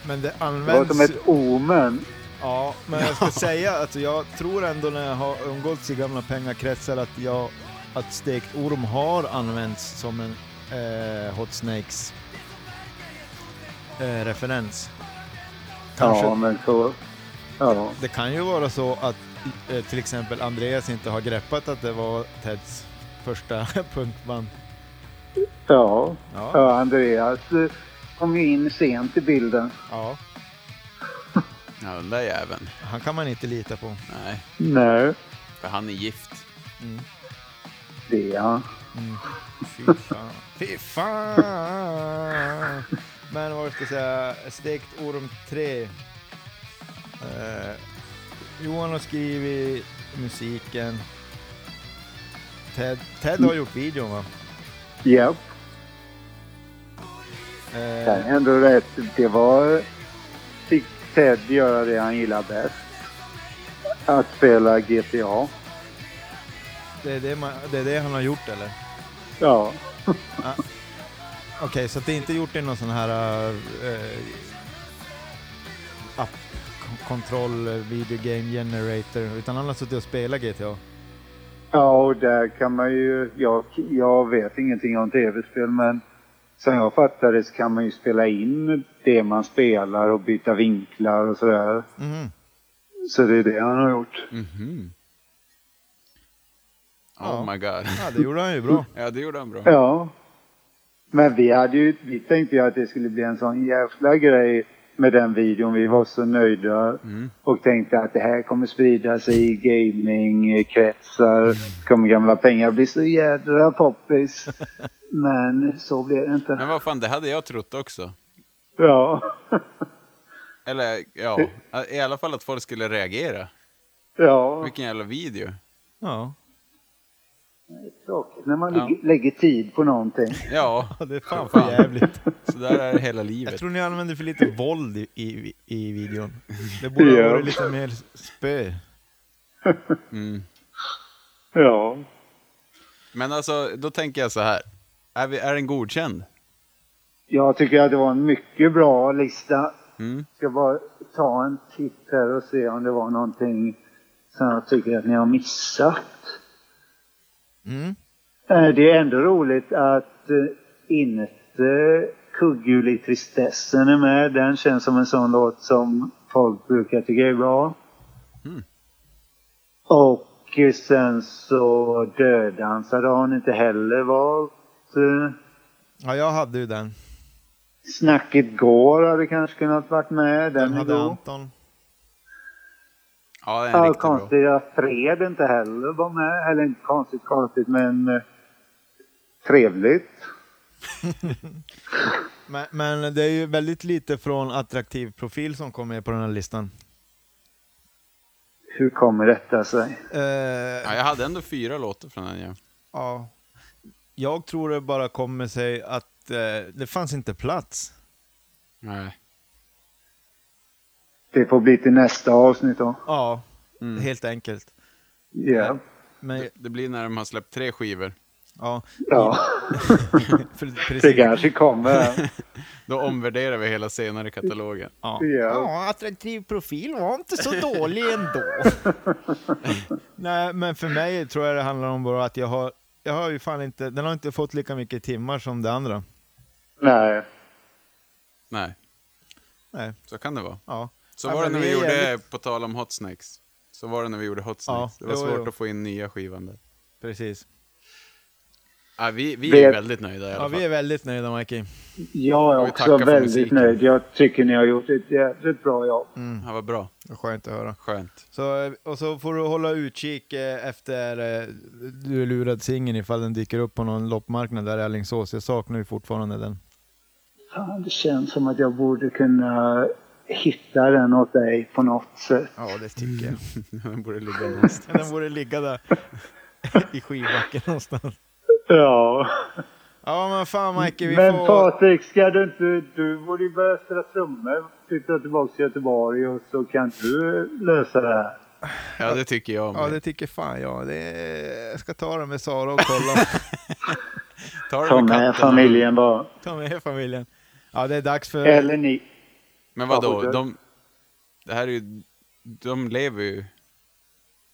Speaker 4: men det
Speaker 3: Det var som
Speaker 4: används...
Speaker 3: ett omen.
Speaker 4: Ja, men jag ska säga att jag tror ändå när jag har umgåtts i gamla pengakretsar att, jag, att stekt orm har använts som en eh, Hot Snakes eh, referens. Kanske,
Speaker 3: Ja, men så... Ja.
Speaker 4: Det kan ju vara så att eh, till exempel Andreas inte har greppat att det var Teds första punkband.
Speaker 3: Ja,
Speaker 4: Ja,
Speaker 3: ja Andreas eh, kom ju in sent i bilden.
Speaker 4: ja,
Speaker 1: Ja, den där jäveln.
Speaker 4: han kan man inte lita på.
Speaker 1: Nej,
Speaker 3: Nej,
Speaker 1: för han är gift.
Speaker 4: Mm.
Speaker 3: det är han.
Speaker 4: Fy fan. Fy fan. Men vad ska jag säga, Stekt orm 3. Eh, Johan har skrivit musiken. Ted, Ted har gjort videon va?
Speaker 3: Japp, det
Speaker 4: Eh,
Speaker 3: är ändå rätt. Det var... Fick Ted göra det han gillar bäst. Att spela GTA.
Speaker 4: det, är det, man, det är det han har gjort eller?
Speaker 3: Ja,
Speaker 4: Okej, så att det är inte gjort i någon sån här eh, app, kon- kontroll, eh, video game generator, utan han har suttit och spelat GTA.
Speaker 3: Ja, och där kan man ju... Jag, jag vet ingenting om tv-spel, men som jag fattar det så kan man ju spela in det man spelar och byta vinklar och sådär.
Speaker 4: Mhm.
Speaker 3: Så det är det han har gjort.
Speaker 1: Mhm.
Speaker 4: Ja.
Speaker 1: Oh my god.
Speaker 4: Ja, Eh. det gjorde han ju bra.
Speaker 1: Ja, det gjorde han bra.
Speaker 3: Ja. Men vi hade ju... Vi tänkte ju att det skulle bli en sån jävla grej med den videon. Vi var så nöjda
Speaker 1: Mm.
Speaker 3: och tänkte att det här kommer sprida sig i
Speaker 1: Mm.
Speaker 3: gamingkretsar. Kommer gamla pengar bli så jädra poppis. Men så blev det inte.
Speaker 1: Men vad fan, det hade jag trott också.
Speaker 3: Ja.
Speaker 1: Eller ja,
Speaker 4: Eh.
Speaker 1: i alla fall att folk skulle reagera.
Speaker 3: Ja.
Speaker 1: Vilken jävla video.
Speaker 4: Ja,
Speaker 3: Tråkigt när man
Speaker 1: Ja.
Speaker 3: lägger- lägger tid på någonting.
Speaker 1: Ja,
Speaker 4: det är fan för jävligt.
Speaker 1: så där är det hela
Speaker 4: Jag
Speaker 1: livet.
Speaker 4: tror ni använder för lite våld i, i, i videon. Det borde ha
Speaker 3: Ja.
Speaker 4: varit lite mer spö.
Speaker 1: Mm.
Speaker 3: Ja.
Speaker 1: Men alltså, då tänker jag så här. Är, vi, är den godkänd?
Speaker 3: Jag tycker att det var en mycket bra lista.
Speaker 1: Mm.
Speaker 3: Ska bara ta en titt här och se om det var någonting som jag tycker att ni har missat.
Speaker 4: Mm.
Speaker 3: Eh, Det är ändå roligt att eh, inte Kugghjul i tristessen är med. Den känns som en sån låt som folk brukar tycka är bra.
Speaker 1: Mm.
Speaker 3: Och eh, sen så Dödansade har han inte heller valt. Eh,
Speaker 4: Ja, jag hade ju den.
Speaker 3: Snacket går hade kanske kunnat varit med. Den,
Speaker 4: Den
Speaker 3: är
Speaker 4: hade
Speaker 3: god.
Speaker 4: Anton.
Speaker 1: Ja, den är
Speaker 3: Ja,
Speaker 1: riktigt bra.
Speaker 3: konstiga Fred inte heller var med. Eller inte konstigt konstigt men eh, trevligt.
Speaker 4: Men, men det är ju väldigt lite från attraktiv profil som kommer med på den här listan.
Speaker 3: Hur kommer detta sig?
Speaker 4: Eh,
Speaker 1: Ja, jag hade ändå fyra låtar från den ju.
Speaker 4: Ja. Jag tror det bara kommer sig att eh, det fanns inte plats.
Speaker 1: Nej.
Speaker 3: Det får bli till nästa avsnitt då.
Speaker 4: Ja,
Speaker 1: Mm.
Speaker 4: helt enkelt.
Speaker 3: Ja.
Speaker 4: Men
Speaker 1: Det blir när de har släppt tre skivor.
Speaker 4: ja,
Speaker 3: Ja,
Speaker 4: för,
Speaker 3: det
Speaker 4: precis.
Speaker 3: kanske kommer.
Speaker 1: Då omvärderar vi hela senare katalogen.
Speaker 4: Ja.
Speaker 3: Ja.
Speaker 4: attraktiv profil var inte så dålig ändå. Nej, men för mig tror jag det handlar om bara att jag har, jag har ju fan inte, den har inte fått lika mycket timmar som det andra.
Speaker 3: Nej.
Speaker 1: Nej,
Speaker 4: Nej,
Speaker 1: så kan det vara.
Speaker 4: ja.
Speaker 1: Så
Speaker 4: Ja,
Speaker 1: var det när
Speaker 4: men vi
Speaker 1: vi
Speaker 4: är
Speaker 1: gjorde,
Speaker 4: jävligt-
Speaker 1: på tal om Hot Snakes. Så var det när vi gjorde Hot Snakes. det var
Speaker 4: jo,
Speaker 1: svårt
Speaker 4: jo.
Speaker 1: att få in nya skivan där.
Speaker 4: Precis.
Speaker 1: Ja, vi, vi
Speaker 3: Det-
Speaker 1: är väldigt nöjda i alla
Speaker 4: Ja,
Speaker 1: fall.
Speaker 4: vi är väldigt nöjda Mikey.
Speaker 1: Får
Speaker 3: Jag är
Speaker 1: vi
Speaker 3: också
Speaker 1: tacka för
Speaker 3: väldigt
Speaker 1: musiken?
Speaker 3: nöjd. Jag tycker ni har gjort ett jävligt bra jobb.
Speaker 1: Ja, vad bra.
Speaker 4: Skönt att höra.
Speaker 1: Skönt.
Speaker 4: Så, eh, och så får du hålla utkik eh, efter eh, Du är lurad singeln ifall den dyker upp på någon loppmarknad där i Alingsås. Jag saknar ju fortfarande den.
Speaker 3: Fan, det känns som att jag borde kunna hitta den åt dig på något sätt.
Speaker 4: Ja, det tycker jag.
Speaker 1: Den borde ligga någonstans.
Speaker 4: Den borde ligga där i skivbacken någonstans.
Speaker 3: Ja.
Speaker 4: Ja, men fan Mike, vi
Speaker 3: Men
Speaker 4: får...
Speaker 3: Patrik, ska du inte... Du borde ju börja spela trummor. Flytta tillbaka till Göteborg och så kan du lösa det här.
Speaker 1: Ja, det tycker jag
Speaker 4: Ja,
Speaker 1: med.
Speaker 4: det tycker fan jag. Det... är- Jag ska ta den med Sara och kolla.
Speaker 1: Ta det
Speaker 3: Ta
Speaker 1: med
Speaker 3: med
Speaker 1: katten.
Speaker 3: familjen bara.
Speaker 4: ta med familjen. Ja, det är dags för...
Speaker 3: Eller ni.
Speaker 1: Men
Speaker 3: Ja,
Speaker 1: vadå,
Speaker 3: det-
Speaker 1: de... Det här är ju... De lever ju...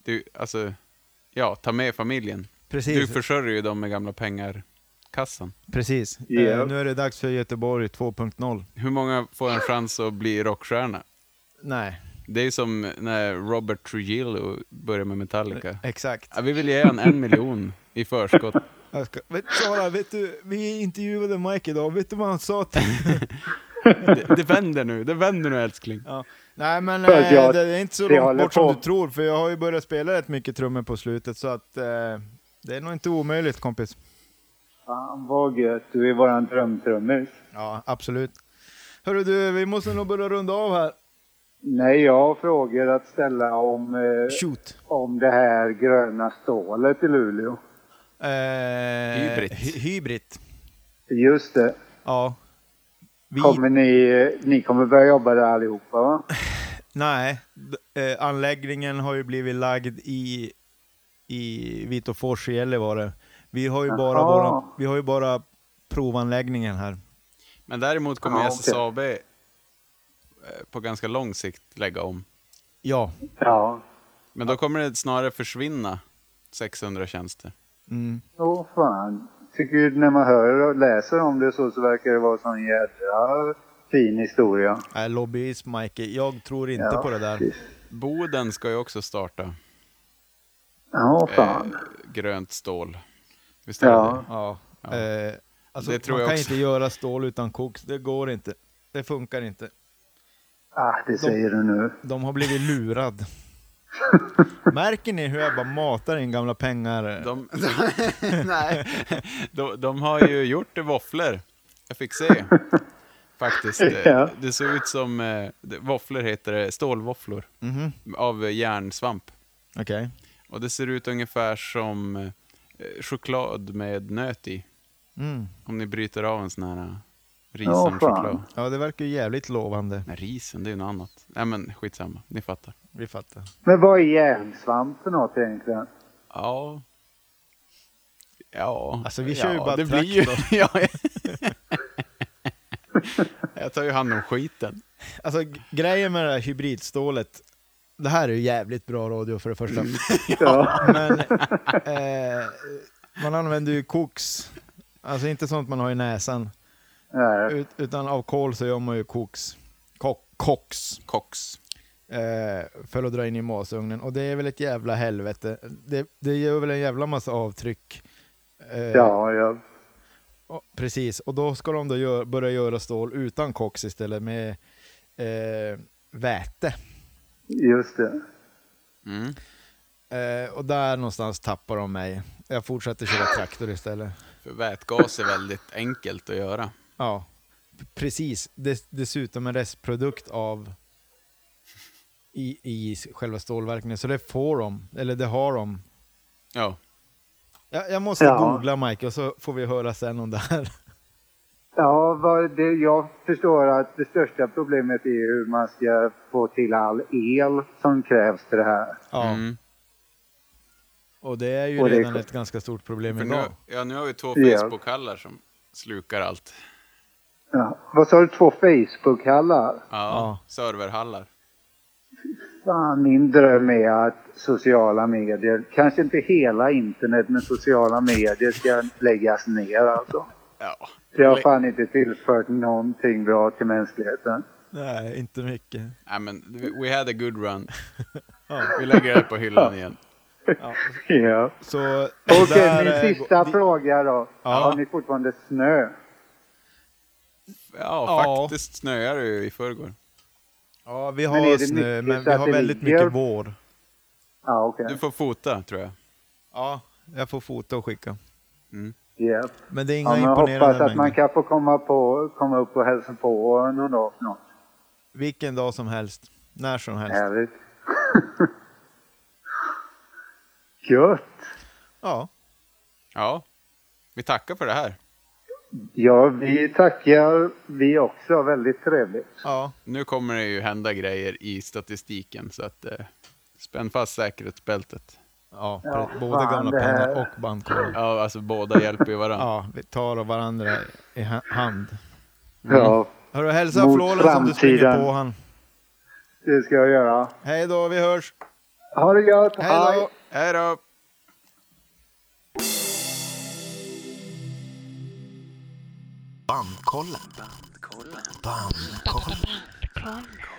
Speaker 1: Du, alltså... Ja, ta med familjen. Du
Speaker 4: Precis.
Speaker 1: försörjer ju dem med gamla pengar. Kassan.
Speaker 4: Precis. Eh,
Speaker 3: Ja.
Speaker 4: Nu är det dags för Göteborg 2.0.
Speaker 1: Hur många får en chans att bli rockstjärna?
Speaker 4: Nej.
Speaker 1: Det är ju som när Robert Trujillo började med Metallica.
Speaker 4: Exakt.
Speaker 1: Ja, vi vill ge honom en miljon i förskott.
Speaker 4: Jag ska, vet, Sara, vet du, vi intervjuade Mike idag, vet du vad han sa till
Speaker 1: Det, det vänder nu, det vänder nu älskling.
Speaker 4: ja. Nej men
Speaker 3: För
Speaker 4: eh,
Speaker 3: att jag-
Speaker 4: det är inte så
Speaker 3: det
Speaker 4: långt
Speaker 3: håller
Speaker 4: bort som
Speaker 3: på.
Speaker 4: du tror, för jag har ju börjat spela rätt mycket trummor på slutet, så att eh, det är nog inte omöjligt kompis.
Speaker 3: Fan vad gött, du är våran drömtrummis.
Speaker 4: Ja, absolut. Hörru du, vi måste nog börja runda av här.
Speaker 3: Eh. Nej, jag har frågor att ställa om, eh,
Speaker 4: Shoot.
Speaker 3: om det här gröna stålet i Luleå.
Speaker 4: Eh,
Speaker 1: Hybrid.
Speaker 4: hy- Hybrid.
Speaker 3: Just det.
Speaker 4: Ja. Vi,
Speaker 3: Kommer ni, eh, ni kommer börja jobba där allihopa va?
Speaker 4: Nej, d- eh, anläggningen har ju blivit lagd i, i Vitåfors i Gällivare. Vi har, ju bara
Speaker 3: Jaha.
Speaker 4: våra, vi har ju bara provanläggningen här.
Speaker 1: Men däremot kommer
Speaker 3: Ja, okej.
Speaker 1: SSAB eh, på ganska lång sikt lägga om.
Speaker 4: Ja.
Speaker 3: Ja.
Speaker 1: Men då kommer det snarare försvinna 600 tjänster.
Speaker 4: Mm.
Speaker 3: Åh fan. Tycker ju när man hör och läser om det så, så verkar det vara sån jädra fin historia.
Speaker 4: Äh, lobbyism, Mike. Jag tror inte
Speaker 3: Ja,
Speaker 4: på det där.
Speaker 3: precis.
Speaker 1: Boden ska ju också starta
Speaker 3: Ja,
Speaker 1: eh,
Speaker 3: fan.
Speaker 1: grönt stål. Visst är
Speaker 3: Ja.
Speaker 1: det?
Speaker 4: Ja. Eh, alltså,
Speaker 1: Det tror
Speaker 4: man
Speaker 1: jag
Speaker 4: kan
Speaker 1: också.
Speaker 4: inte göra stål utan koks. Det går inte. Det funkar inte.
Speaker 3: Ah, det säger du nu.
Speaker 4: De har blivit lurad. Märker ni hur jag bara matar in gamla pengar?
Speaker 1: De, de, de har ju gjort våfflor. Jag fick se. Faktiskt. eh,
Speaker 3: Ja.
Speaker 1: Det såg ut som, eh, det- våfflor heter det, stålvåfflor
Speaker 4: Mhm.
Speaker 1: av eh, järnsvamp.
Speaker 4: Okej.
Speaker 1: Och det ser ut ungefär som eh, choklad med nöt i.
Speaker 4: Mm.
Speaker 1: Om ni bryter av en sån här eh,
Speaker 3: Ja,
Speaker 1: risen
Speaker 3: fan.
Speaker 1: choklad.
Speaker 4: Ja, det verkar ju jävligt lovande.
Speaker 1: Nej, risen, det är ju något annat. Nej men skitsamma, ni fattar.
Speaker 4: Vi fattar.
Speaker 3: Men vad är järnsvamp för något egentligen?
Speaker 1: Ja. Ja.
Speaker 4: Alltså, vi kör ju
Speaker 1: ja,
Speaker 4: bara
Speaker 1: det blir ju... ja, jag- Jag tar ju hand om skiten.
Speaker 4: Alltså g- grejen med det här hybridstålet, det här är ju jävligt bra radio för det första.
Speaker 3: Ja.
Speaker 4: Men eh, man använder ju koks, alltså inte sånt man har i näsan,
Speaker 3: Nej.
Speaker 4: ut, utan av kol så gör man ju koks, Ko- koks,
Speaker 1: Cox.
Speaker 4: eh, för att dra in i masugnen. Och det är väl ett jävla helvete. Det, det gör väl en jävla massa avtryck. Eh,
Speaker 3: Ja, ja.
Speaker 4: och- Precis, och då ska de då gör, börja göra stål utan koks istället med eh, väte.
Speaker 3: Just det.
Speaker 1: Mm.
Speaker 4: Eh, och där någonstans tappar de mig. Jag fortsätter köra traktor istället.
Speaker 1: För vätgas är väldigt enkelt att göra.
Speaker 4: Ja, p- precis. Dess, dessutom en restprodukt av i, i s- själva stålverkningen. Så det får de, eller det har de.
Speaker 1: Ja.
Speaker 4: Jag, jag måste
Speaker 3: Ja.
Speaker 4: googla Mike och så får vi höra sen om det här.
Speaker 3: Ja, vad det, jag förstår att det största problemet är hur man ska få till all el som krävs till det här.
Speaker 4: Ja,
Speaker 1: Mm.
Speaker 4: och det är ju
Speaker 3: Och det är
Speaker 4: redan
Speaker 3: klart.
Speaker 4: ett ganska stort problem
Speaker 1: För
Speaker 4: idag.
Speaker 1: nu, ja, nu har vi två
Speaker 3: Ja.
Speaker 1: Facebook-hallar som slukar allt.
Speaker 3: Ja. Vad sa du, två Facebook-hallar?
Speaker 1: Ja,
Speaker 4: Ja.
Speaker 1: serverhallar.
Speaker 3: Fan, min dröm är att sociala medier, kanske inte hela internet, men sociala medier ska läggas ner alltså.
Speaker 1: Ja.
Speaker 3: Det har fan inte tillfört någonting bra till mänskligheten.
Speaker 4: Nej, inte mycket.
Speaker 1: Nej, men we had a good run.
Speaker 4: Ja.
Speaker 1: Vi lägger det här på hyllan igen.
Speaker 3: Ja.
Speaker 4: Så
Speaker 3: Okej,
Speaker 4: där, eh,
Speaker 3: min sista
Speaker 4: di-
Speaker 3: fråga då.
Speaker 4: Ja.
Speaker 3: Har ni fortfarande snö?
Speaker 1: Ja,
Speaker 4: Ja.
Speaker 1: faktiskt snöar det ju i förrgår.
Speaker 4: Ja, vi
Speaker 3: Men är
Speaker 4: har
Speaker 3: det
Speaker 4: snö,
Speaker 3: mycket
Speaker 4: men
Speaker 3: så
Speaker 4: vi
Speaker 3: att
Speaker 4: har
Speaker 3: det
Speaker 4: väldigt
Speaker 3: ligger?
Speaker 4: mycket vår.
Speaker 3: Ja, okej.
Speaker 1: Du får fota, tror jag.
Speaker 4: Ja, jag får fota och skicka.
Speaker 3: Ja.
Speaker 4: Men det är
Speaker 3: Ja,
Speaker 4: inga
Speaker 3: men jag
Speaker 4: imponerande
Speaker 3: hoppas att
Speaker 4: mängder.
Speaker 3: man kan få komma, på, komma upp och hälsa på någon dag snart.
Speaker 4: Vilken dag som helst, när som helst. Ja.
Speaker 3: Härligt. Gött!
Speaker 1: Ja. Vi tackar för det här.
Speaker 3: Ja, vi tackar vi också. Väldigt trevligt.
Speaker 4: ja.
Speaker 1: Nu kommer det ju hända grejer i statistiken, så att eh, spänn fast säkerhetsbältet.
Speaker 4: Ja,
Speaker 3: Ja,
Speaker 4: pre- både
Speaker 3: fan,
Speaker 4: gamla
Speaker 3: det här-
Speaker 4: pengar och bandkorv.
Speaker 1: Ja, alltså båda hjälper ju varandra.
Speaker 4: Ja, vi tar av varandra i ha- hand.
Speaker 3: Ja,
Speaker 4: Hörru, hälsa
Speaker 3: Mot
Speaker 4: Flålen som du springer
Speaker 3: framtiden.
Speaker 4: på han.
Speaker 3: det ska jag göra.
Speaker 4: Hej då, vi hörs.
Speaker 3: Ha det gött!
Speaker 4: Hej då.
Speaker 1: Hej då!
Speaker 2: Bandkollen. Bandkollen.